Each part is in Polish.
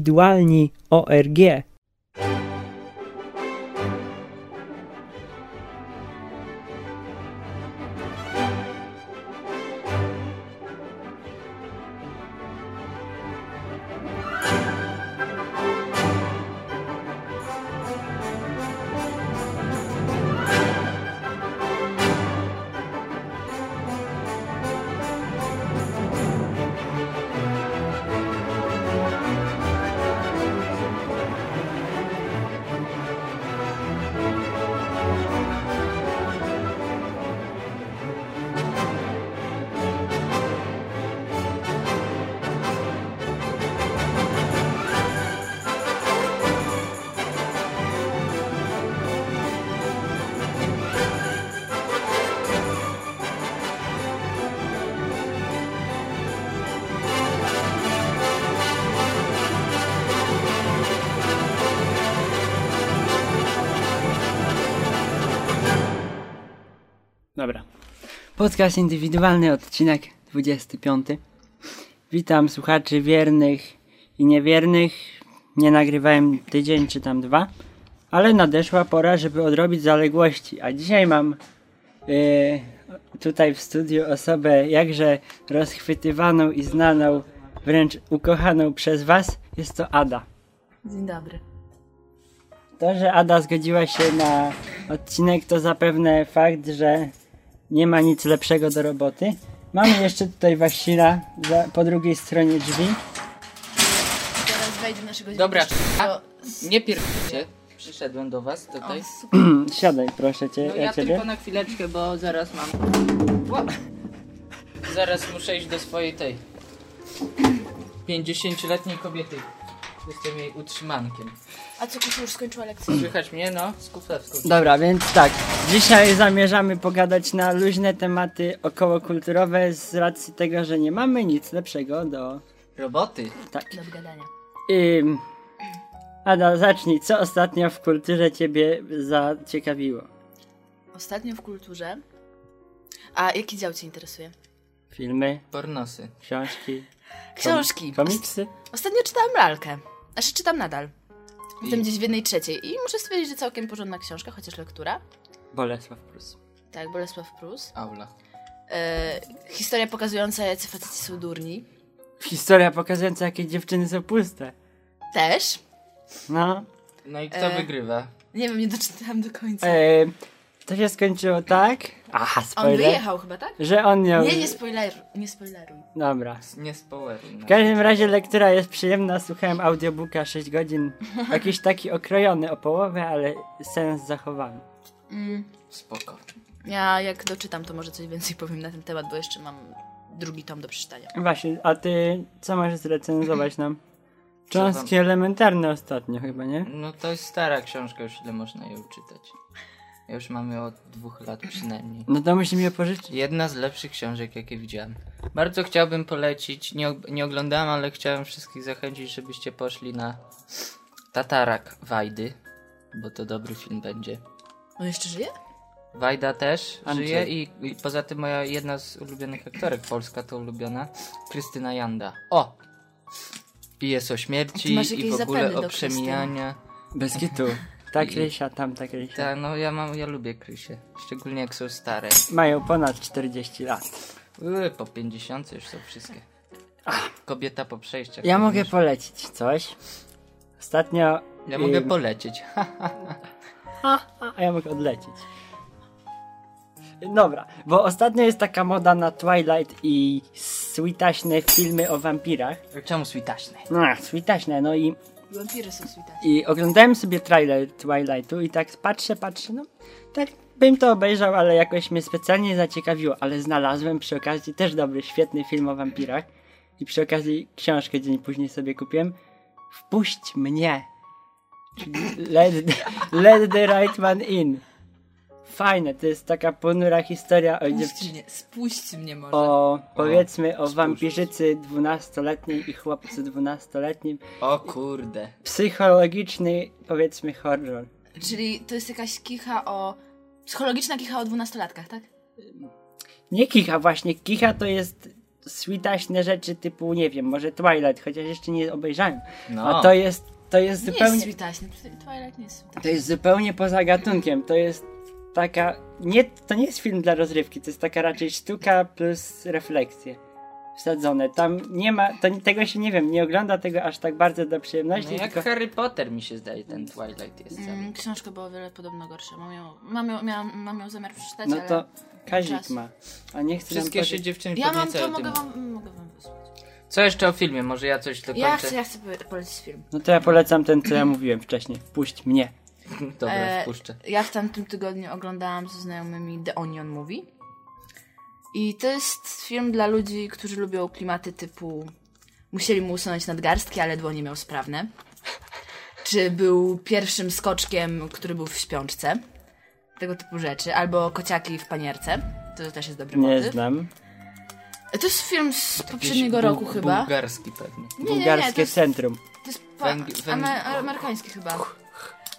podcast.indywidualni.org Dobra. Podcast indywidualny, odcinek 25. Witam słuchaczy wiernych i niewiernych. Nie nagrywałem tydzień czy tam dwa, ale nadeszła pora, żeby odrobić zaległości. A dzisiaj mam yy, tutaj w studiu osobę jakże rozchwytywaną i znaną, wręcz ukochaną przez Was. Jest to Ada. Dzień dobry. To, że Ada zgodziła się na odcinek, to zapewne fakt, że nie ma nic lepszego do roboty. Mamy jeszcze tutaj Wasila za, po drugiej stronie drzwi. Teraz wejdzie naszego Dobra, dziennikarza. Nie pierwszy. Przyszedłem do was tutaj. Hmm, Siadaj, proszę cię, No ja ja ciebie. tylko na chwileczkę, bo zaraz mam. Ła! Zaraz muszę iść do swojej tej 50-letniej kobiety. Jestem jej utrzymankiem. A co, Kusiu już skończyła lekcję? Słychać mnie, no? Skupewską. Dobra, więc tak. Dzisiaj zamierzamy pogadać na luźne tematy okołokulturowe z racji tego, że nie mamy nic lepszego do. Roboty. Tak. Do wygadania. Ym... Ada, zacznij. Co ostatnio w kulturze ciebie zaciekawiło? Ostatnio w kulturze. A jaki dział Cię interesuje? Filmy, Pornosy. książki, Książki. komiksy? Ostatnio czytałam lalkę. Znaczy czytam nadal. Jestem I- gdzieś w jednej trzeciej i muszę stwierdzić, że całkiem porządna książka, chociaż lektura. Bolesław Prus. Tak, Bolesław Prus. Aula. E, historia pokazująca, jacy faceci są durni. Historia pokazująca, jakie dziewczyny są puste. Też. No, No i kto E. wygrywa? Nie wiem, nie doczytałam do końca. E, to się skończyło tak. Aha, On spoiler. wyjechał chyba, tak? Że on miał. Nie, nie spoileruj. Nie spoileruj. Dobra. Nie społeczny. W każdym razie lektura jest przyjemna. Słuchałem audiobooka 6 godzin. Jakiś taki okrojony o połowę, ale sens zachowany. Mm. Spoko. Ja jak doczytam, to może coś więcej powiem na ten temat, bo jeszcze mam drugi tom do przeczytania. Właśnie, a ty co możesz zrecenzować nam? Cząstki elementarne ostatnio chyba, nie? No to jest stara książka, już ile można ją czytać. Ja już mam ją od dwóch lat przynajmniej. No to musimy je pożyczyć. Jedna z lepszych książek, jakie widziałem. Bardzo chciałbym polecić, nie, og- nie oglądałem, ale chciałem wszystkich zachęcić, żebyście poszli na Tatarak Wajdy, bo to dobry film będzie. On jeszcze żyje? Wajda też Andrzej. żyje i, i poza tym moja jedna z ulubionych aktorek, polska to ulubiona, Krystyna Janda. O! I jest o Ty śmierci masz i jakieś w ogóle zapędy o do Krystyny. przemijania. Bez kitu. Ta Krysia, tamta Krysia. Tak, no ja mam, ja lubię Krysię, szczególnie jak są stare. Mają ponad 40 lat. Były po 50 już są wszystkie. Kobieta po przejściach. Ja to mogę wiesz. polecić coś. Ostatnio... Ja mogę ym, polecieć. A ja mogę odlecieć. Dobra, bo ostatnio jest taka moda na Twilight i switaśne filmy o wampirach. Czemu switaśny? No, switaśne, no i, Wampiry są switani. i oglądałem sobie trailer Twilightu i tak patrzę, patrzę, no tak bym to obejrzał, ale jakoś mnie specjalnie zaciekawiło, ale znalazłem przy okazji też dobry, świetny film o wampirach i przy okazji książkę dzień później sobie kupiłem. Wpuść mnie! Let, let the right man in. Fajne, to jest taka ponura historia o dziewczynie. mnie, spuść mnie może. O, powiedzmy, o spójrz. wampirzycy 12-letniej i chłopcu 12-letnim. O kurde. Psychologiczny, powiedzmy, horror. Czyli to jest jakaś kicha o... Psychologiczna kicha o dwunastolatkach, tak? Nie kicha właśnie, kicha to jest switaśne rzeczy typu, nie wiem, może Twilight, chociaż jeszcze nie obejrzałem. No, A to jest, to jest Nie jest zupełnie... switaśny, Twilight nie jest switaśny. To jest zupełnie poza gatunkiem. To jest taka. Nie, to nie jest film dla rozrywki, to jest taka raczej sztuka plus refleksje wsadzone. Tam nie ma. To, nie- tego się nie wiem, nie ogląda tego aż tak bardzo dla no przyjemności. jak tylko, Harry Potter mi się zdaje, ten Twilight jest cały. Mm, książka była o wiele podobno gorsza. Mam ją, mam ją, miałam, mam ją zamiar przeczytać, no to ale... Kazik czas. ma. A nie chcę Wszystkie nam się powiedzieć- dziewczyny Ja mam to, podniecają mogę tym. wam, mogę wam wysłać. Co jeszcze o filmie? Może ja coś dokończę? Ja chcę, ja chcę po- polecić film. No to ja polecam ten, co ja mówiłem wcześniej. Puść mnie. Dobra, E, wpuszczę. Ja w tamtym tygodniu oglądałam ze znajomymi The Onion Movie. I to jest film dla ludzi, którzy lubią klimaty typu musieli mu usunąć nadgarstki, ale dłonie miał sprawne. Czy był pierwszym skoczkiem, który był w śpiączce. Tego typu rzeczy. Albo kociaki w panierce. To też jest dobry Nie motyw. znam. To jest film z poprzedniego Jakiś bu- roku chyba. Bułgarski pewnie. Nie, nie, nie, to Bułgarskie jest, centrum. to jest pa- Węg- węg- amer- amerykański chyba.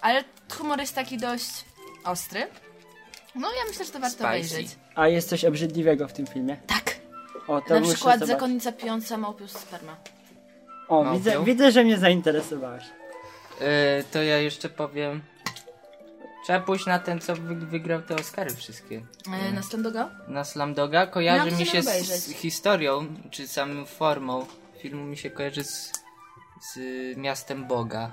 Ale humor jest taki dość ostry. No ja myślę, że to warto Spicy. obejrzeć. A jest coś obrzydliwego w tym filmie. Tak. O, to Na muszę przykład zobaczyć. zakonnica pijąca małpius sperma. E, O, No, widzę, był. widzę, że mnie zainteresowałeś. E, to ja jeszcze powiem... Trzeba pójść na ten, co wy- wygrał te Oscary wszystkie. E, na Slandoga? Na Slamdoga Miałam kojarzy to mi się sobie z obejrzeć. historią, czy samą formą filmu mi się kojarzy z, z Miastem Boga.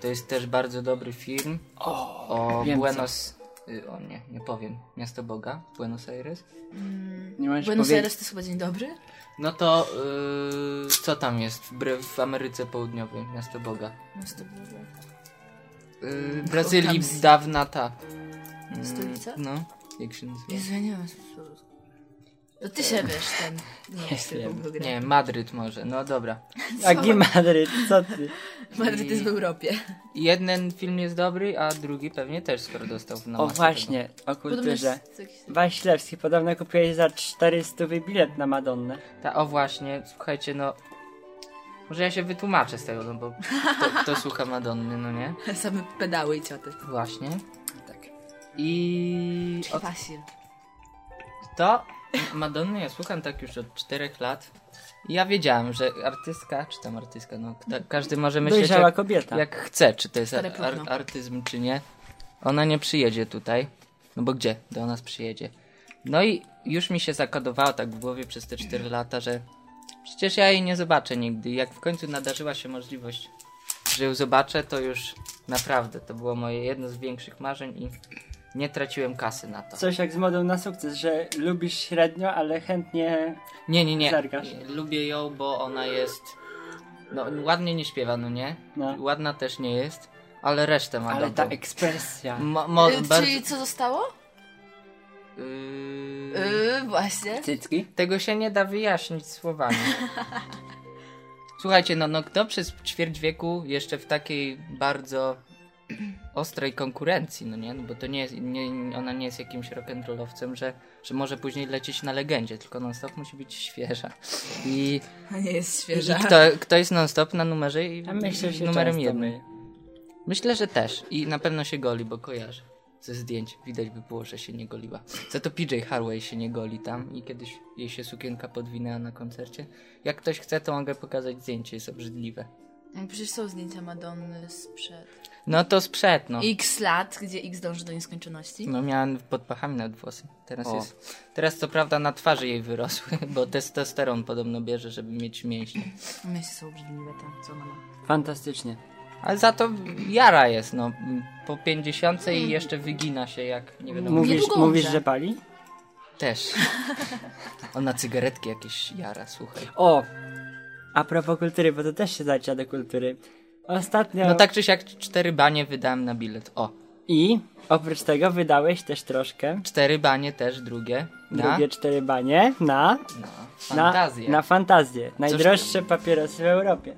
To jest też bardzo dobry film o, wiem co. Buenos... y, O nie, nie powiem. Miasto Boga, Buenos Aires. Nie możesz Buenos powiedzieć. Aires to jest chyba dzień dobry? No to y, co tam jest w, w Ameryce Południowej, Miasto Boga? No, to było- Yy, Mm, Tam Brazylii z- dawna ta. Mm, Stolica? No, jak się nazywa? Jezu, ja nie wiem. To ty się wiesz, ten... No, z wiem. którego był gra. Nie, Madryt może, no dobra. Jaki Madryt, co ty? Madryt jest w Europie. Jeden film jest dobry, a drugi pewnie też, skoro dostał na O właśnie, o Podobno jest kulturze. jakiś- Waślewski, podobno kupiłeś za 400 bilet na Madonnę. Ta, o właśnie, słuchajcie, no... Może ja się wytłumaczę z tego, no bo to, to słucha Madonny, no nie? Same pedały i cioty. Właśnie. Tak. I... Od Fasil. To Madonny ja słucham tak już od 4 lat. I Ja wiedziałem, że artystka, czy tam artystka, no kta, każdy może myśleć Dojrzała jak, kobieta. jak chce, czy to jest Stare ar, ar, próchno. artyzm, czy nie. Ona nie przyjedzie tutaj, no bo gdzie? Do nas przyjedzie. No i już mi się zakodowało tak w głowie przez te 4 lata, że przecież ja jej nie zobaczę nigdy. I Jak w końcu nadarzyła się możliwość, że ją zobaczę, to już naprawdę to było moje jedno z większych marzeń i nie traciłem kasy na to. Coś jak z modą na sukces, że lubisz średnio, ale chętnie... Nie, nie, nie. Zerkasz. Lubię ją, bo ona jest. No, ładnie nie śpiewa, no nie? No. Ładna też nie jest, ale resztę ma Ale tak- ta dobrą. ekspresja. Mo, mo, Y, bardzo, Czyli co zostało? Yy, Yy, właśnie. Cycki? Tego się nie da wyjaśnić słowami. Słuchajcie, no, no kto przez ćwierć wieku jeszcze w takiej bardzo ostrej konkurencji, no nie? No bo to nie jest, nie, ona nie jest jakimś rock'n'rollowcem, że, że może później lecieć na legendzie, tylko non-stop musi być świeża. I Nie jest I świeża. kto, kto jest non-stop na numerze i A myślę, że się numerem często jednym. myli. Myślę, że też. I na pewno się goli, bo kojarzę. Ze zdjęć widać by było, że się nie goliła. Za to PJ Harway się nie goli tam i kiedyś jej się sukienka podwinęła na koncercie. Jak ktoś chce, to mogę pokazać zdjęcie, jest obrzydliwe. Przecież są zdjęcia Madonny sprzed No to sprzed, no. x lat, gdzie x dąży do nieskończoności. No miałem pod pachami nawet włosy. Teraz O. jest. Teraz co prawda na twarzy jej wyrosły, bo testosteron podobno bierze, żeby mieć mięśnie. Myślę, że są obrzydliwe te, co ona ma. Fantastycznie. Ale za to jara jest, no. Po 50 i jeszcze wygina się jak nie wiadomo. Mówisz, No. Niedługo mówisz, umrze. że pali? Też. Ona cygaretki jakieś jara, słuchaj. O! A propos kultury, bo to też się zaczyna do kultury. Ostatnio... No tak czy siak cztery banie wydałem na bilet. O, I oprócz tego wydałeś też troszkę. cztery banie też drugie. Na, No, Drugie cztery banie na... na Na, fantazję. na fantazję. Najdroższe papierosy w Europie.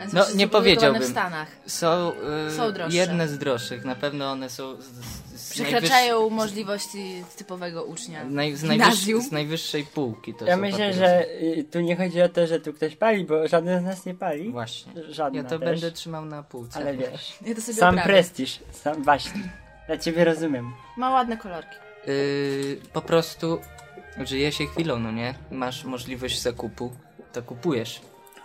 Ale są No, wszyscy nie produkowane powiedziałbym. w Stanach. Są, y, Są droższe. jedne z droższych. Na pewno one są z, z, z Przekraczają możliwości typowego ucznia. najwyższ- z Naj, z, Gimnazjum. najwyższ, z najwyższej półki to Ja są myślę, papierosy. że y, tu nie chodzi o to, że tu ktoś pali, bo żaden z nas nie pali. Właśnie. Żadna Ja to też, będę trzymał na półce. Ale wiesz. Ja to sobie Sam oprawię. prestiż, sam właśnie. Ja ciebie rozumiem. Ma ładne kolorki. Yy, po Y, prostu Żyje się chwilą, no nie? Masz możliwość zakupu, to kupujesz.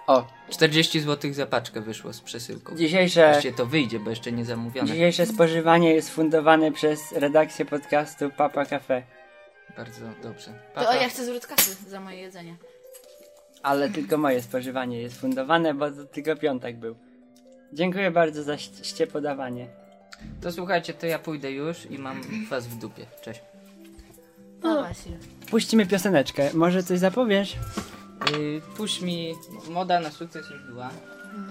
O, 40 zł za paczkę wyszło z przesyłką. dzisiejsze, Właściwie to wyjdzie, bo jeszcze nie zamówione. dzisiejsze spożywanie jest fundowane przez redakcję podcastu Papa Cafe. Bardzo dobrze. Pa, To o, pa. ja chcę zwrot kasy za moje jedzenie. Ale tylko moje spożywanie jest fundowane, bo to tylko piątek był. Dziękuję bardzo za ście- ście podawanie. To słuchajcie, to ja pójdę już i mam was w dupie. Cześć. No właśnie. Puścimy pioseneczkę. Może coś zapowiesz? Yy, puść mi. Moda na sukces już była.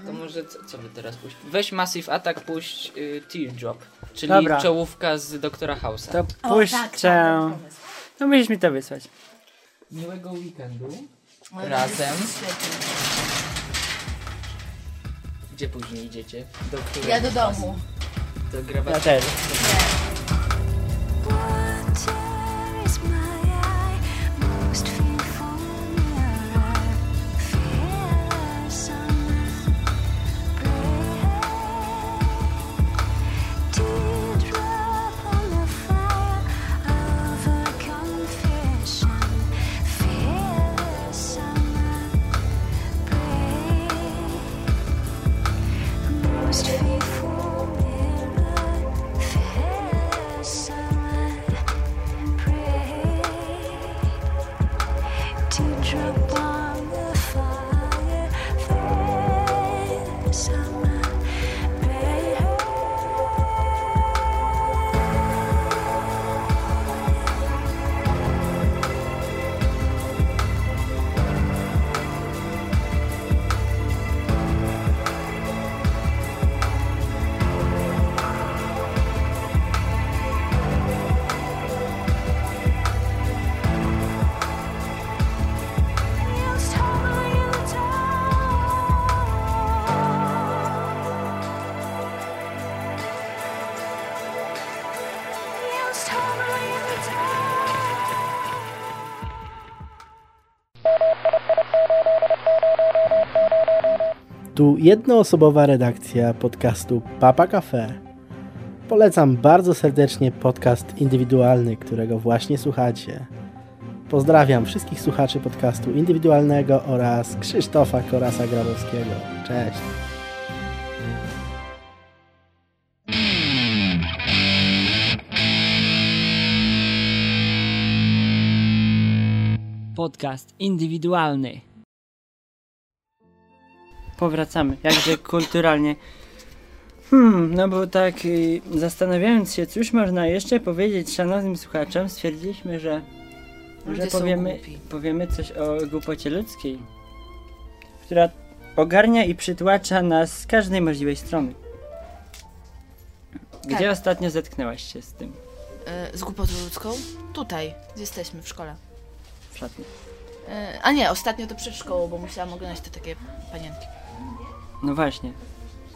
To może co, co by teraz puść? Weź Massive Attack, puść yy, Teardrop, czyli Dobra. czołówka z doktora House'a. To O, tak, puszczę. tak, pomysł. No musisz mi to wysłać. Miłego weekendu. Oj, Razem. świetnie. Gdzie później idziecie? Do której? Ja do domu. Do grabacji. Ja też. Water is my eye, most fearful mirror. Fear summer, teardrop on the fire of a confession. Fear summer, most fearful mirror. Fear summer. Teardrop on the fire, fair summer, pray. Feels hollow you down. Feels hollow you down. Tu jednoosobowa redakcja podcastu Papa Cafe. Polecam bardzo serdecznie podcast indywidualny, którego właśnie słuchacie. Pozdrawiam wszystkich słuchaczy podcastu indywidualnego oraz Krzysztofa Korasa Grabowskiego. Cześć! Podcast indywidualny. Powracamy, jakże kulturalnie. Hmm, no bo tak y, zastanawiając się, cóż można jeszcze powiedzieć szanownym słuchaczom, stwierdziliśmy, że, że Ludzie są powiemy, głupi. powiemy coś o głupocie ludzkiej, która ogarnia i przytłacza nas z każdej możliwej strony. Gdzie Tak. ostatnio zetknęłaś się z tym Y, Z głupotą ludzką? Tutaj, gdzie jesteśmy, w szkole. w szatni? Y, A nie, ostatnio to przed szkołą, bo musiałam oglądać te takie panienki. No właśnie.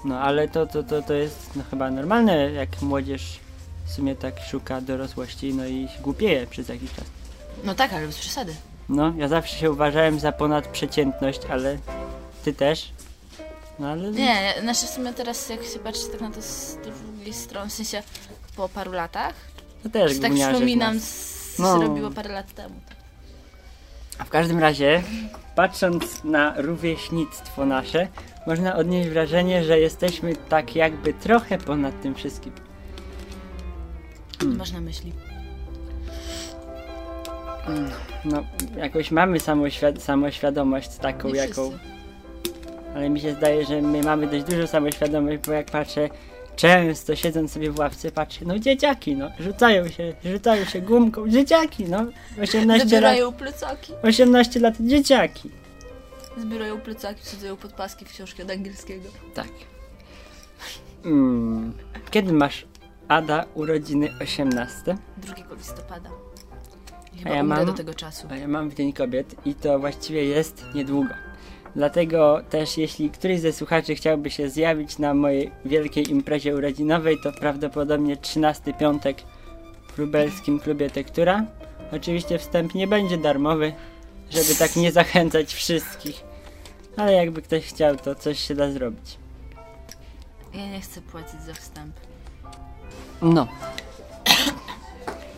No ale to, to, to, to jest no, chyba normalne, jak młodzież w sumie tak szuka dorosłości, no i głupieje przez jakiś czas. No tak, ale bez przesady. No, ja zawsze się uważałem za ponad przeciętność, ale ty też. No ale Nie, znaczy w sumie teraz jak się patrzy tak na to z drugiej strony, w sensie po paru latach, to też że tak gówniarze z przypominam, nas. s- co No. się robiło parę lat temu. tak? A w każdym razie, patrząc na rówieśnictwo nasze, można odnieść wrażenie, że jesteśmy tak jakby trochę ponad tym wszystkim. Hmm. Masz na myśli. No, jakoś mamy samoświad- samoświadomość taką, Nie jaką wszyscy. ale mi się zdaje, że my mamy dość dużo samoświadomość, bo jak patrzę, często siedząc sobie w ławce, patrzę, no dzieciaki, no, rzucają się, rzucają się gumką, dzieciaki, no, 18 lat, Zbierają plecaki, 18 lat, dzieciaki. zbierają plecaki, wsadzają pod paski w książki od angielskiego. Tak. Mm. Kiedy masz, Ada, urodziny 18? 2 listopada. I A Chyba ja umrę mam- do tego czasu. A ja mam w Dzień Kobiet i to właściwie jest niedługo. Dlatego też jeśli któryś ze słuchaczy chciałby się zjawić na mojej wielkiej imprezie urodzinowej, to prawdopodobnie 13 piątek w lubelskim klubie Tektura. Oczywiście wstęp nie będzie darmowy, żeby tak nie zachęcać wszystkich. Ale jakby ktoś chciał, to coś się da zrobić. Ja nie chcę płacić za wstęp. No,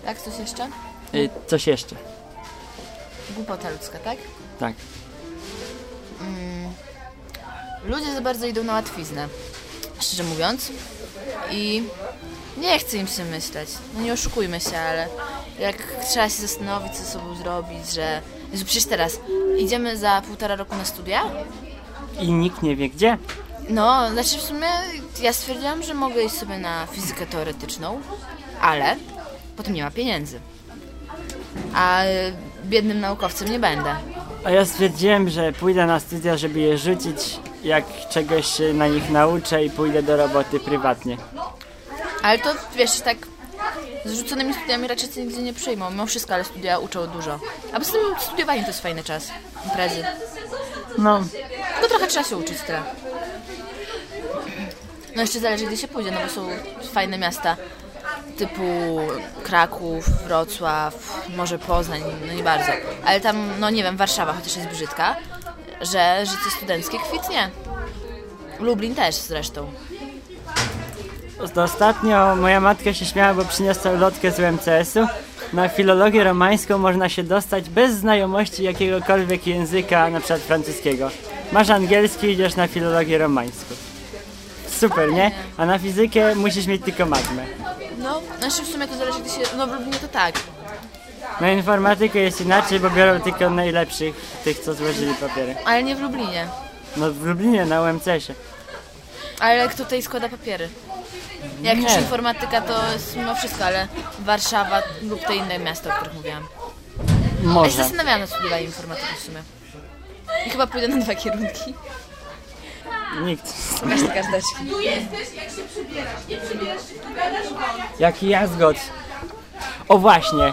Tak, coś jeszcze? y, coś jeszcze. Głupota ludzka, tak? Tak. Ludzie za bardzo idą na łatwiznę, szczerze mówiąc. I nie chcę im przemyśleć. No nie oszukujmy się, ale jak trzeba się zastanowić, co ze sobą zrobić, że... Jezu, przecież teraz idziemy za półtora roku na studia? I nikt nie wie gdzie. No, znaczy w sumie ja stwierdziłam, że mogę iść sobie na fizykę teoretyczną, ale potem nie ma pieniędzy. A y, biednym naukowcem nie będę. A ja stwierdziłem, że pójdę na studia, żeby je rzucić, jak czegoś się na nich nauczę i pójdę do roboty prywatnie. Ale to wiesz, tak z rzuconymi studiami raczej cię nigdzie nie przyjmą. Mimo wszystko, ale studia uczą dużo. A poza tym studiowanie to jest fajny czas. Imprezy. No, Tylko trochę trzeba się uczyć tyle. No jeszcze zależy gdzie się pójdzie, no bo są fajne miasta typu Kraków, Wrocław, może Poznań, no nie bardzo. Ale tam, no nie wiem, Warszawa, chociaż jest brzydka, że życie studenckie kwitnie. Lublin też zresztą. to ostatnio moja matka się śmiała, bo przyniosła lotkę z UMCS-u. Na filologię romańską można się dostać bez znajomości jakiegokolwiek języka, na przykład francuskiego. Masz angielski, idziesz na filologię romańską. Super, nie? A na fizykę musisz mieć tylko magmę. No, znaczy w sumie to zależy gdzie się, no w Lublinie to tak. Na informatykę jest inaczej, bo biorą tylko najlepszych, tych co złożyli papiery. Ale nie w Lublinie. No w Lublinie, na UMCS-ie. Ale kto tutaj składa papiery? Jak już informatyka to jest mimo wszystko, ale Warszawa lub te inne miasta, o których mówiłam. Ja się Może. zastanawiałam nad studiowaniem informatyki w sumie. I chyba pójdę na dwa kierunki. Nikt. Masz te karteczki. Jaki jazgot. O właśnie.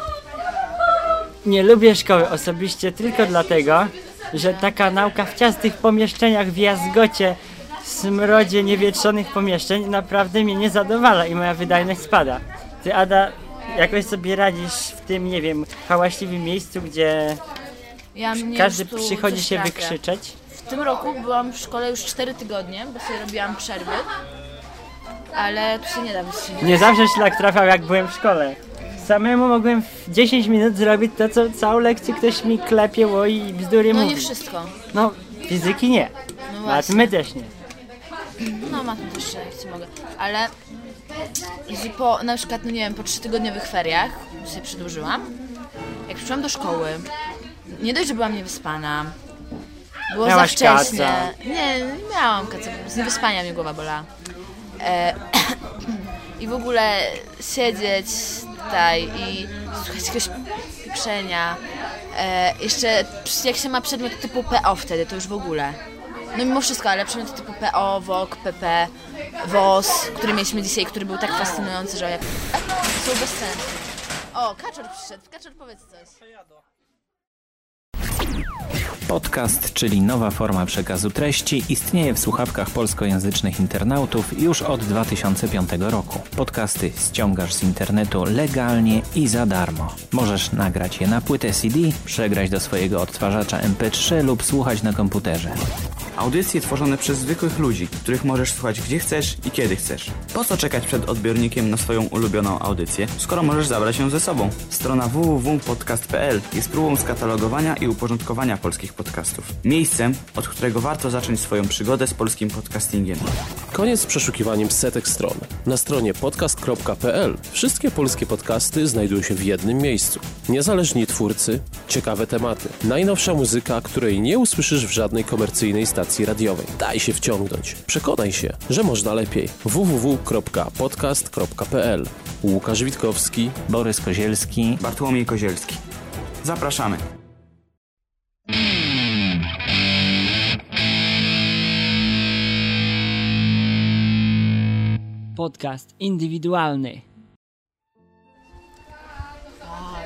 Nie lubię szkoły osobiście tylko dlatego, że taka nauka w ciasnych pomieszczeniach w jazgocie, smrodzie niewietrzonych pomieszczeń naprawdę mnie nie zadowala i moja wydajność spada. Ty Ada jakoś sobie radzisz w tym, nie wiem, hałaśliwym miejscu, gdzie Ja mnie każdy już tu przychodzi coś się trafia. wykrzyczeć. W tym roku byłam w szkole już 4 tygodnie, bo sobie robiłam przerwy. Ale tu się nie da wystrzelić. Nie zawsze szlak trafiał jak byłem w szkole. Samemu mogłem w 10 minut zrobić to, co całą lekcję ktoś mi klepieło i bzdury No nie mówił. wszystko. No, fizyki nie. No właśnie. Matmy też nie. No mam też jeszcze, jak ci mogę. Ale jeśli po, na przykład, no nie wiem, po trzytygodniowych feriach się przedłużyłam, jak przyszłam do szkoły, nie dość, że byłam niewyspana, było Miałaś za wcześnie. kaca. Nie, nie miałam kaca, po prostu niewyspania mnie głowa bolała. E, I w ogóle siedzieć tutaj i słuchać jakiegoś pieprzenia. E, jeszcze przy- jak się ma przedmiot typu PO wtedy, to już w ogóle. No mimo wszystko, ale przedmioty typu PO, WOK, PP, WOS, który mieliśmy dzisiaj, który był tak fascynujący, że ja... Są bez sensu. O, Kaczor przyszedł. Kaczor, powiedz coś. Podcast, czyli nowa forma przekazu treści, istnieje w słuchawkach polskojęzycznych internautów już od 2005 roku. Podcasty ściągasz z internetu legalnie i za darmo. Możesz nagrać je na płytę CD, przegrać do swojego odtwarzacza MP3 lub słuchać na komputerze. Audycje tworzone przez zwykłych ludzi, których możesz słuchać gdzie chcesz i kiedy chcesz. Po co czekać przed odbiornikiem na swoją ulubioną audycję, skoro możesz zabrać ją ze sobą? Strona www.podcast.pl jest próbą skatalogowania i uporządkowania polskich podcastów. Miejscem, od którego warto zacząć swoją przygodę z polskim podcastingiem. Koniec z przeszukiwaniem setek stron. Na stronie podcast.pl wszystkie polskie podcasty znajdują się w jednym miejscu. Niezależni twórcy, ciekawe tematy, najnowsza muzyka, której nie usłyszysz w żadnej komercyjnej stacji radiowej. Daj się wciągnąć. Przekonaj się, że można lepiej. www.podcast.pl Łukasz Witkowski, Borys Kozielski, Bartłomiej Kozielski. Zapraszamy. Podcast indywidualny.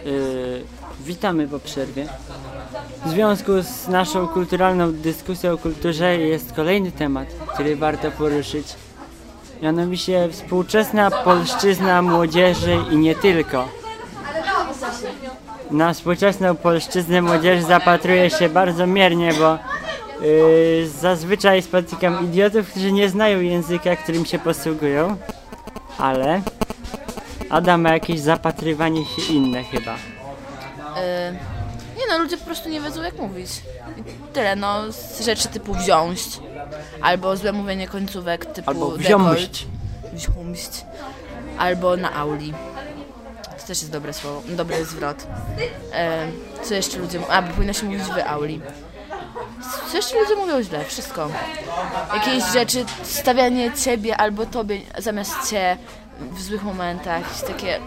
Yy, witamy po przerwie. W związku z naszą kulturalną dyskusją o kulturze jest kolejny temat, który warto poruszyć. Mianowicie współczesna polszczyzna młodzieży i nie tylko. Na współczesną polszczyznę młodzież zapatruje się bardzo miernie, bo yy, zazwyczaj spotykam idiotów, którzy nie znają języka, którym się posługują, ale Adam ma jakieś zapatrywanie się inne chyba. Nie no, ludzie po prostu nie wiedzą jak mówić. I tyle, no, z rzeczy typu wziąć, albo złe mówienie końcówek typu Albo dekolt, wziąć. wziąć, albo na auli. To też jest dobre słowo, dobry zwrot. E, co jeszcze ludzie... A, bo powinno się mówić w auli. Co jeszcze ludzie mówią źle? Wszystko. Jakieś rzeczy, stawianie ciebie albo tobie zamiast cię w złych momentach, jakieś takie...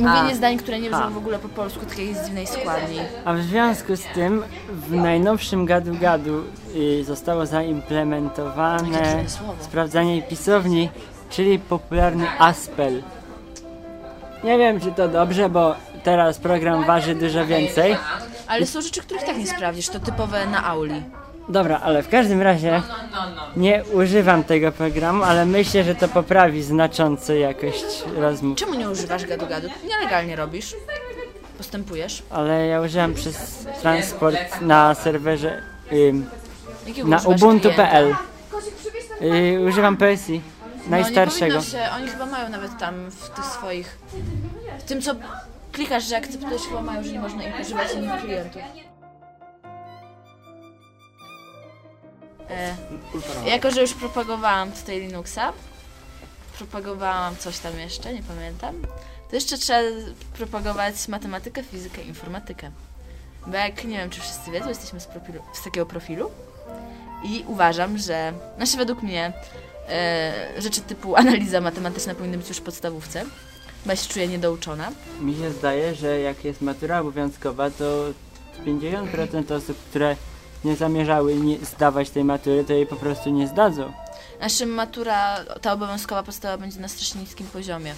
Mówienie zdań, które nie brzmią w ogóle po polsku, takiej z dziwnej składni. A w związku z tym w najnowszym gadu gadu y, zostało Jakie zaimplementowane dziwne słowo. sprawdzanie pisowni, czyli popularny aspel. Nie wiem czy to dobrze, bo teraz program waży dużo więcej. Ale są rzeczy, których tak nie sprawdzisz, to typowe na auli. Dobra, ale w każdym razie No, nie używam tego programu, ale myślę, że to poprawi znacząco jakość rozmów. Czemu nie używasz gadu-gadu? Nielegalnie robisz. Postępujesz. Ale ja użyłem przez transport na serwerze ym, Jakiego na używasz ubuntu.pl. klienta? Y, używam PSI, najstarszego. No, nie powinno No się, oni chyba mają nawet tam w tych swoich... W tym, co klikasz, że akceptujesz, chyba mają, że nie można ich używać innych klientów. E, jako, że już propagowałam tutaj Linuxa, propagowałam coś tam jeszcze, nie pamiętam, to jeszcze trzeba propagować matematykę, fizykę, informatykę. Bo jak, nie wiem, czy wszyscy wiedzą, jesteśmy z, profilu, z takiego profilu i uważam, że, znaczy według mnie, e, rzeczy typu analiza matematyczna powinny być już w podstawówce, bo ja się czuję niedouczona. Mi się zdaje, że jak jest matura obowiązkowa, to 50% osób, które nie zamierzały nie zdawać tej matury, to jej po prostu nie zdadzą. Znaczy matura, ta obowiązkowa podstawa będzie na strasznie niskim poziomie.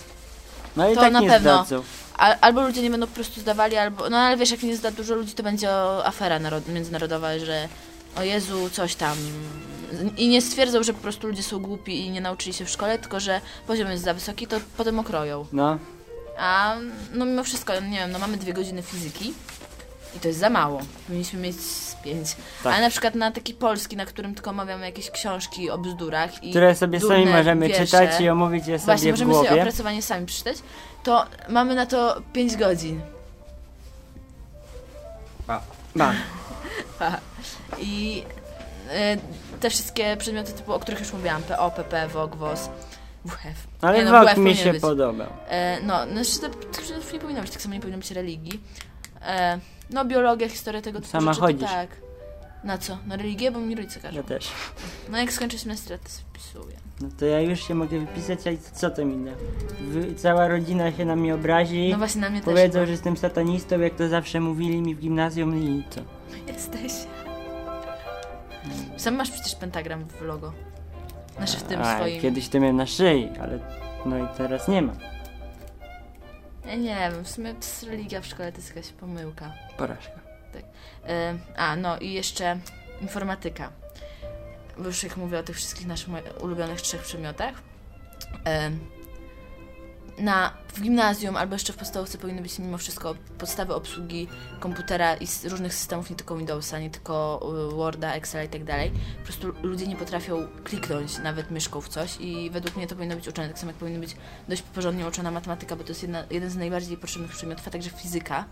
No i To tak na nie pewno. zdadzą. Al, albo ludzie nie będą po prostu zdawali, albo, no ale wiesz, jak nie zda dużo ludzi, to będzie o, afera narod, międzynarodowa, że o Jezu, coś tam. I nie stwierdzą, że po prostu ludzie są głupi i nie nauczyli się w szkole, tylko że poziom jest za wysoki, to potem okroją. No, A no mimo wszystko, nie wiem, no mamy dwie godziny fizyki i to jest za mało. Powinniśmy mieć z pięć. Tak. Ale na przykład na taki polski, na którym tylko omawiamy jakieś książki o bzdurach i które sobie sami durne możemy wiersze. czytać i omówić je Właśnie, sobie w możemy sobie głowie. opracowanie sami przeczytać, to mamy na to 5 godzin. Ba. I y, te wszystkie przedmioty typu, o których już mówiłam, PO, PP, WOG, WOS, WHF. Ale Nie, no, wok WF mi powinien się być. podobał. E, no, no znaczy, to- tych przedmiotów nie powinno być, tak samo nie powinno być religii. E, no, biologia, historia tego typu Sama rzeczy, to chodzisz. tak. Na co? Na religię, bo mi rodzice każą. Ja też. No jak skończę semestr, to spisuję. No to ja już się mogę wypisać, ale co to mi da? Wy- Cała rodzina się na mnie obrazi. No właśnie, na mnie też. Powiedzą, że jestem satanistą, jak to zawsze mówili mi w gimnazjum i co? Jesteś. Sam masz przecież pentagram w logo. Znaczy w tym A, swoim. Kiedyś to miałem na szyi, ale no i teraz nie ma. Ja nie wiem, w sumie ps, religia w szkole to jest jakaś pomyłka. Porażka. E, a, no i jeszcze informatyka. Bo już jak mówię o tych wszystkich naszych moich ulubionych trzech przedmiotach. E, na, w gimnazjum albo jeszcze w podstawówce powinny być mimo wszystko podstawy obsługi komputera i s- różnych systemów, nie tylko Windowsa, nie tylko y, Worda, Excela i tak dalej. Po prostu ludzie nie potrafią kliknąć nawet myszką w coś i według mnie to powinno być uczone. Tak samo jak powinna być dość porządnie uczona matematyka, bo to jest jedna, jeden z najbardziej potrzebnych przedmiotów, a także fizyka,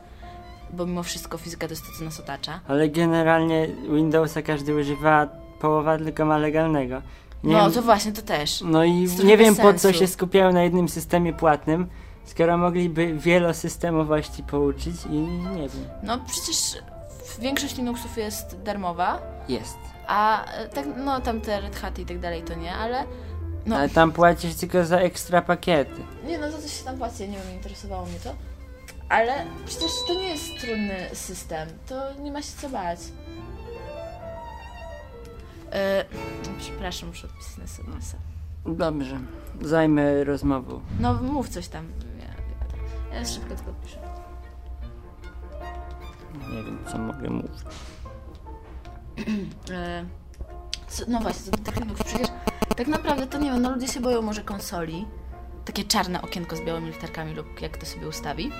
bo mimo wszystko fizyka to jest to, co nas otacza. Ale generalnie Windowsa każdy używa, połowa tylko ma legalnego. Nie no wiem- to właśnie, to też. no i jest trochę nie wiem bez po co sensu. się skupiają na jednym systemie płatnym, skoro mogliby wielosystemowości pouczyć i nie wiem. No przecież większość Linuxów jest darmowa, Jest. a e, tak, no tam te Red Haty i tak dalej to nie, ale No. Ale tam płacisz tylko za ekstra pakiety. nie no, za coś się tam płaci, ja nie wiem, interesowało mnie to. Ale przecież to nie jest trudny system, to nie ma się co bać. E, przepraszam, muszę odpisać na SMS-a. Dobrze, zajmę rozmową. No mów coś tam. Ja, ja szybko tylko piszę. Nie wiem co mogę mówić. E, co, no właśnie, to tak, no przecież, tak naprawdę to nie wiem, no ludzie się boją może konsoli, takie czarne okienko z białymi literkami lub jak to sobie ustawi,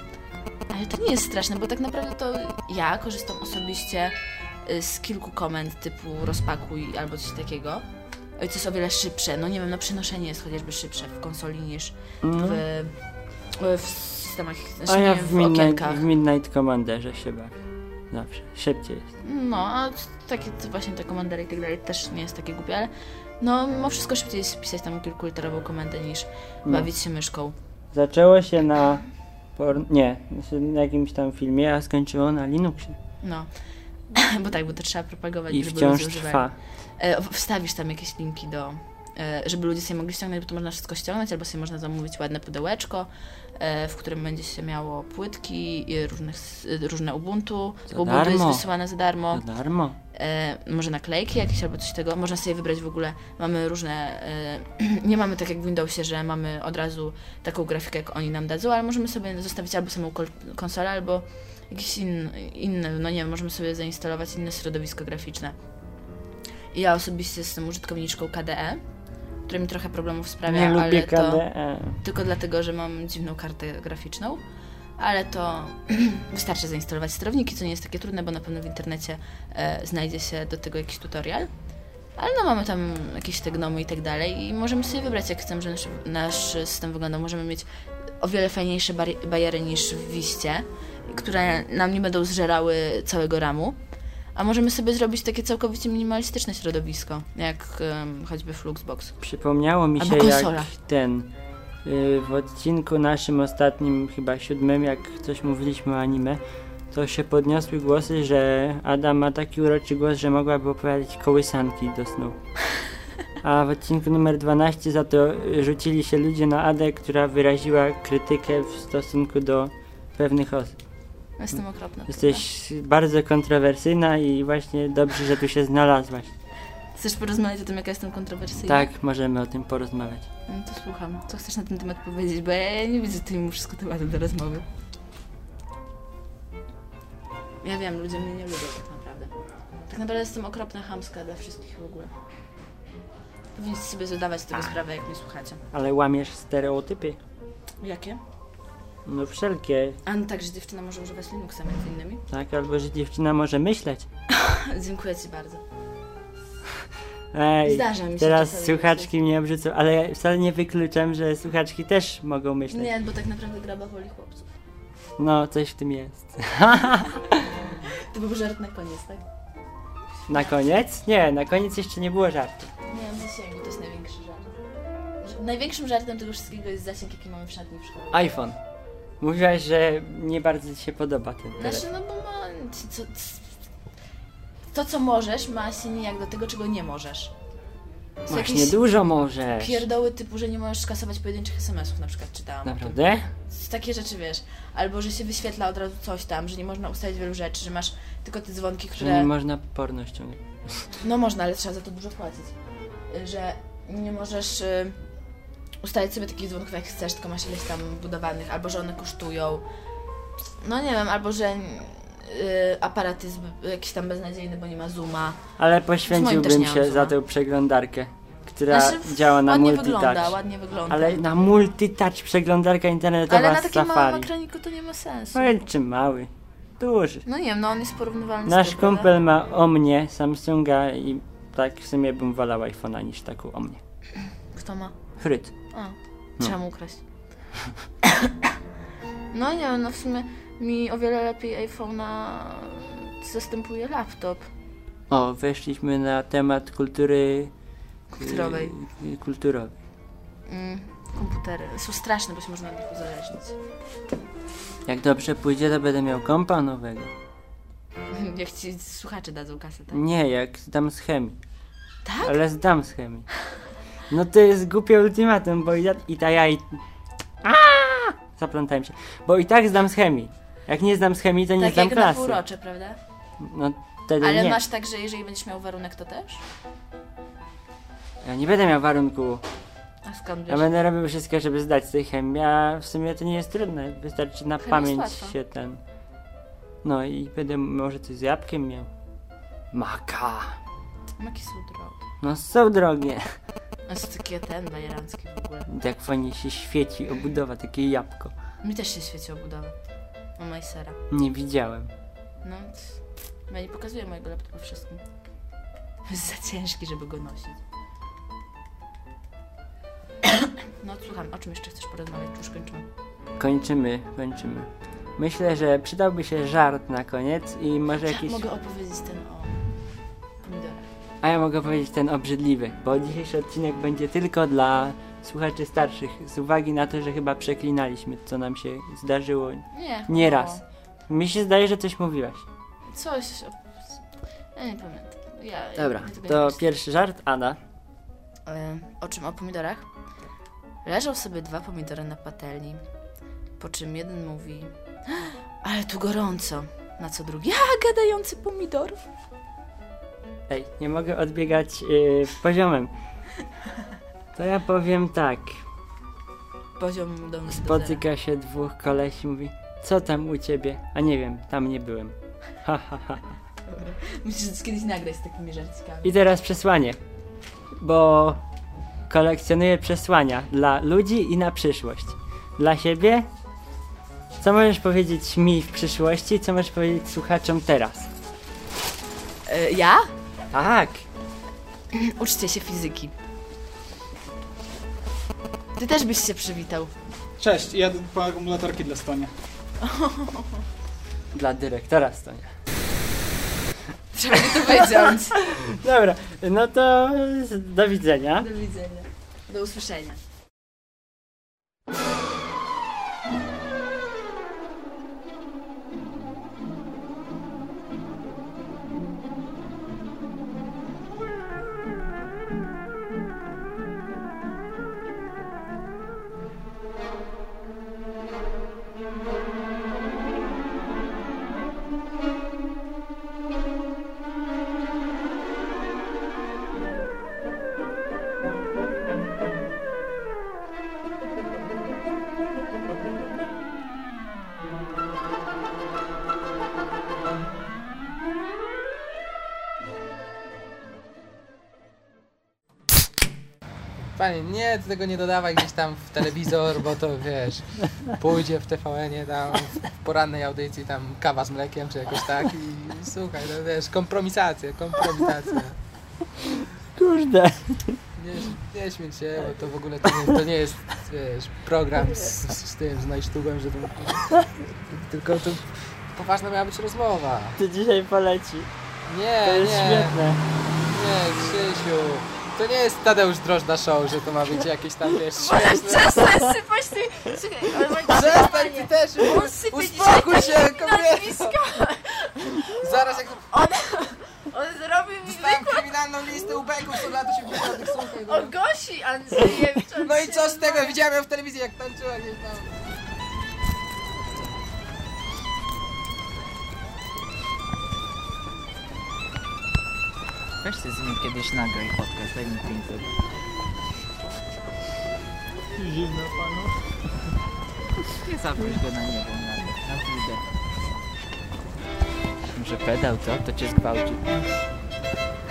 ale to nie jest straszne, bo tak naprawdę to ja korzystam osobiście y, z kilku komend typu rozpakuj albo coś takiego, y, co jest o wiele szybsze, no nie wiem, no przenoszenie jest chociażby szybsze w konsoli niż w, w tam jakichś, Mhm. A znaczy, ja nie w wiem, w okienkach. Midnight, w Midnight Commanderze się bawię. Zawsze. Szybciej jest. No, a takie to właśnie te komendery i tak dalej też nie jest takie głupie, ale no mimo wszystko szybciej jest pisać tam kilkuliterową komendę niż No. bawić się myszką. Zaczęło się na... Por... Nie, znaczy na jakimś tam filmie, a skończyło na Linuxie. No. Bo tak, bo to trzeba propagować, I żeby wciąż ludzie używali. trwa. E, w- Wstawisz tam jakieś linki do, e, żeby ludzie sobie mogli ściągnąć, bo to można wszystko ściągnąć, albo sobie można zamówić ładne pudełeczko, e, w którym będzie się miało płytki, i różnych, s- e, różne Ubuntu, Za bo Ubuntu jest darmo. wysyłane za darmo. Za darmo. e, może naklejki jakieś albo coś tego. Można sobie wybrać w ogóle, mamy różne, e, nie mamy tak jak w Windowsie, że mamy od razu taką grafikę, jak oni nam dadzą, ale możemy sobie zostawić albo samą kol- konsolę, albo jakieś in, inne, no nie wiem, możemy sobie zainstalować inne środowisko graficzne. I ja osobiście jestem użytkowniczką KDE, które mi trochę problemów sprawia, Nie ale lubię E. to KDE. tylko dlatego, że mam dziwną kartę graficzną, ale to wystarczy zainstalować sterowniki, co nie jest takie trudne, bo na pewno w internecie e, znajdzie się do tego jakiś tutorial. Ale no mamy tam jakieś te gnomy i tak dalej i możemy sobie wybrać jak chcemy, że nasz, nasz system wygląda. Możemy mieć o wiele fajniejsze bari- bariery niż w Wiście, które nam nie będą zżerały całego ramu. A możemy sobie zrobić takie całkowicie minimalistyczne środowisko, jak em, choćby Fluxbox. Przypomniało mi Albo się jak konsola. ten y, w odcinku naszym ostatnim, chyba siódmym, jak coś mówiliśmy o anime, to się podniosły głosy, że Ada ma taki uroczy głos, że mogłaby opowiadać kołysanki do snu. A w odcinku numer 12 za to y, rzucili się ludzie na Adę, która wyraziła krytykę w stosunku do pewnych osób. Jestem okropna. Jesteś bardzo kontrowersyjna i właśnie dobrze, że tu się znalazłaś. Chcesz porozmawiać o tym, jaka jestem kontrowersyjna? Tak, możemy o tym porozmawiać. No to słucham. Co chcesz na ten temat powiedzieć? Bo ja nie widzę tutaj mimo wszystko tematu do rozmowy. Ja wiem, ludzie mnie nie lubią tak naprawdę. Tak naprawdę jestem okropna, chamska dla wszystkich w ogóle. Powinniście sobie zadawać z Tak. tego sprawę, jak mnie słuchacie. Ale łamiesz stereotypy. Jakie? No wszelkie, A no tak, że dziewczyna może używać Linuxa między innymi. tak? Albo że dziewczyna może myśleć. Dziękuję ci bardzo. Ej, Zdarza mi się teraz czasami słuchaczki mnie obrzucą, ale ja wcale nie wykluczam, że słuchaczki też mogą myśleć. Nie, bo tak naprawdę graba woli chłopców. No, coś w tym jest. To był żart na koniec, tak? Na koniec? Nie, na koniec jeszcze nie było żartu. Nie mam zasięgu, to jest największy żart. Że- Największym żartem tego wszystkiego jest zasięg, jaki mamy w szatni w szkole. iPhone. Mówiłaś, że nie bardzo ci się podoba ten telefon. Znaczy, no bo ma... ci- Co, c- to, co możesz, ma się nijak do tego, czego nie możesz. Są Masz jakieś niedużo możesz. pierdoły typu, że nie możesz skasować pojedynczych SMS-ów, na przykład czytałam. Naprawdę? S- Takie rzeczy, wiesz. Albo, że się wyświetla od razu coś tam, że nie można ustalić wielu rzeczy, że masz tylko te dzwonki, Że które... nie można porno ściągać. No można, ale trzeba za to dużo płacić. Y, Że nie możesz y, ustalić sobie takich dzwonków jak chcesz, tylko masz ileś tam budowanych, albo że one kosztują. No nie wiem, albo że y, aparat jest b- jakiś tam beznadziejny, bo nie ma zooma. Ale też poświęciłbym nie mam się za zuma. tę przeglądarkę, która Znaczy, w- działa na ładnie multitouch. wygląda, ładnie wygląda. Ale na multitouch przeglądarka internetowa Ale na z takim małym Safari. No ekraniku to nie ma sensu. Powiedz czy mały? Duży. No nie wiem, no on jest porównywalny z Nasz tym, prawda? kumpel ma o mnie Samsunga i tak w sumie bym wolał iPhone'a niż taką o mnie. Kto ma? Fryt. A, trzeba mu ukraść. No nie wiem, no w sumie mi o wiele lepiej iPhone'a zastępuje laptop. O, weszliśmy na temat kultury... Kulturowej. y, y, Kulturowej. Mm, komputery są straszne, bo się można od nich uzależnić. Jak dobrze pójdzie, to będę miał kompa nowego. Jak ci słuchacze dadzą kasę, tak? Nie, jak zdam z chemii. Tak? Ale zdam z chemii. No to jest głupie ultimatum, bo i, da, i ta ja i... Aaa! Zaplątałem się. Bo i tak zdam z chemii. Jak nie zdam z chemii, to nie tak zdam jak na klasy. półrocze, prawda? No wtedy Ale nie. masz tak, że jeżeli będziesz miał warunek, to też? Ja nie będę miał warunku. A skąd Ja wiesz? będę robił wszystko, żeby zdać tej chemii, a w sumie to nie jest trudne. Wystarczy na Chemia pamięć jest łatwa. się ten. No i będę może coś z jabłkiem miał. Maka. Maki są drogie. No są drogie. A są takie ten, bajerancki w ogóle. I Tak fajnie się świeci obudowa, takie jabłko. Mi też się świeci obudowa. Mama i sera. Nie widziałem. No, c- ja nie pokazuję mojego laptopa wszystkim. Jest za ciężki, żeby go nosić. No, słucham, o czym jeszcze chcesz porozmawiać? Już kończymy. Kończymy, kończymy. Myślę, że przydałby się żart na koniec i może Ja jakiś... mogę opowiedzieć ten o pomidorach. A ja mogę powiedzieć ten obrzydliwy, bo dzisiejszy odcinek będzie tylko dla słuchaczy starszych, z uwagi na to, że chyba przeklinaliśmy, co nam się zdarzyło Nie. nieraz. Mi się zdaje, że coś mówiłaś. O, coś. O, ja nie pamiętam. Ja, Dobra, ja tego nie to pamiętam. pierwszy żart, Ada. E, O czym? O pomidorach? Leżą sobie dwa pomidory na patelni, po czym jeden mówi ale tu gorąco, na co drugi, a gadający pomidor. Ej, nie mogę odbiegać yy, poziomem. To ja powiem tak. Poziom do mnie do zera. Spotyka się dwóch kolesi, mówi, co tam u ciebie? A nie wiem, tam nie byłem. Ha, ha, ha. Musisz kiedyś nagrać z takimi żarcikami. I teraz przesłanie, bo kolekcjonuję przesłania dla ludzi i na przyszłość. Dla siebie, co możesz powiedzieć mi w przyszłości, co możesz powiedzieć słuchaczom teraz? E, ja? Tak, Uczcie się fizyki. Ty też byś się przywitał. Cześć, ja po akumulatorki dla Stonia. dla dyrektora Stonia. Trzeba mi to wiedzieć. Dobra, no to do widzenia. Do widzenia. Do usłyszenia. Panie, nie, ty tego nie dodawaj gdzieś tam w telewizor, bo to wiesz, pójdzie w TVN-ie tam w porannej audycji tam kawa z mlekiem czy jakoś tak i słuchaj, no wiesz, kompromisacja, kompromitacja. Kurde. Nie, nie śmiej się, bo to w ogóle to nie, to nie jest, wiesz, program z, z, z tym, z Najsztugą, że to, tylko to poważna miała być rozmowa. To dzisiaj poleci. Nie, To jest nie. świetne. Nie, Krzysiu, to nie jest Tadeusz Drożda Show, że to ma być jakieś tam, wiesz, śmieszne... Przestań sypać ty... Czekaj, ale mam Przestań, ty też! On sypie Uspokój dzisiaj się, takie kobieto! nazwiska. Zaraz jak On zrobił mi dostałem kryminalną listę ubeków z lat 80 słuchaj, no. o Gosi Andrzejewicz. on No i się co z tego? zna. Widziałem ją w telewizji, jak tańczyła gdzieś tam. Weź ty z nim kiedyś nagraj podcast, daj mi pięćset. Zimno panu. Nie zaproś go na niebo, na, na budę. Może pedał, co? To cię zgwałci.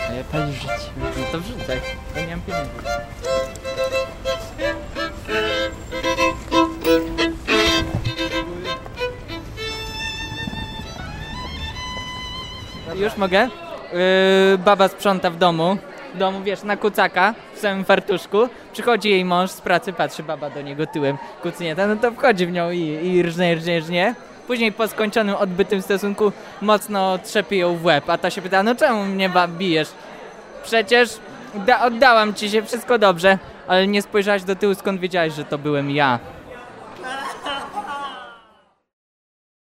A ja pani żyć. No to wrzucaj, bo nie mam pieniędzy. Już mogę? Yy, baba sprząta w domu. W domu, wiesz, na kucaka, w samym fartuszku. Przychodzi jej mąż z pracy, patrzy baba do niego tyłem kucnięta, no to wchodzi w nią i, i rżnie, rżnie, rżnie. Później po skończonym, odbytym stosunku mocno trzepie ją w łeb, a ta się pyta, no czemu mnie ba- bijesz? Przecież da- oddałam ci się, wszystko dobrze, ale nie spojrzałaś do tyłu, skąd wiedziałaś, że to byłem ja?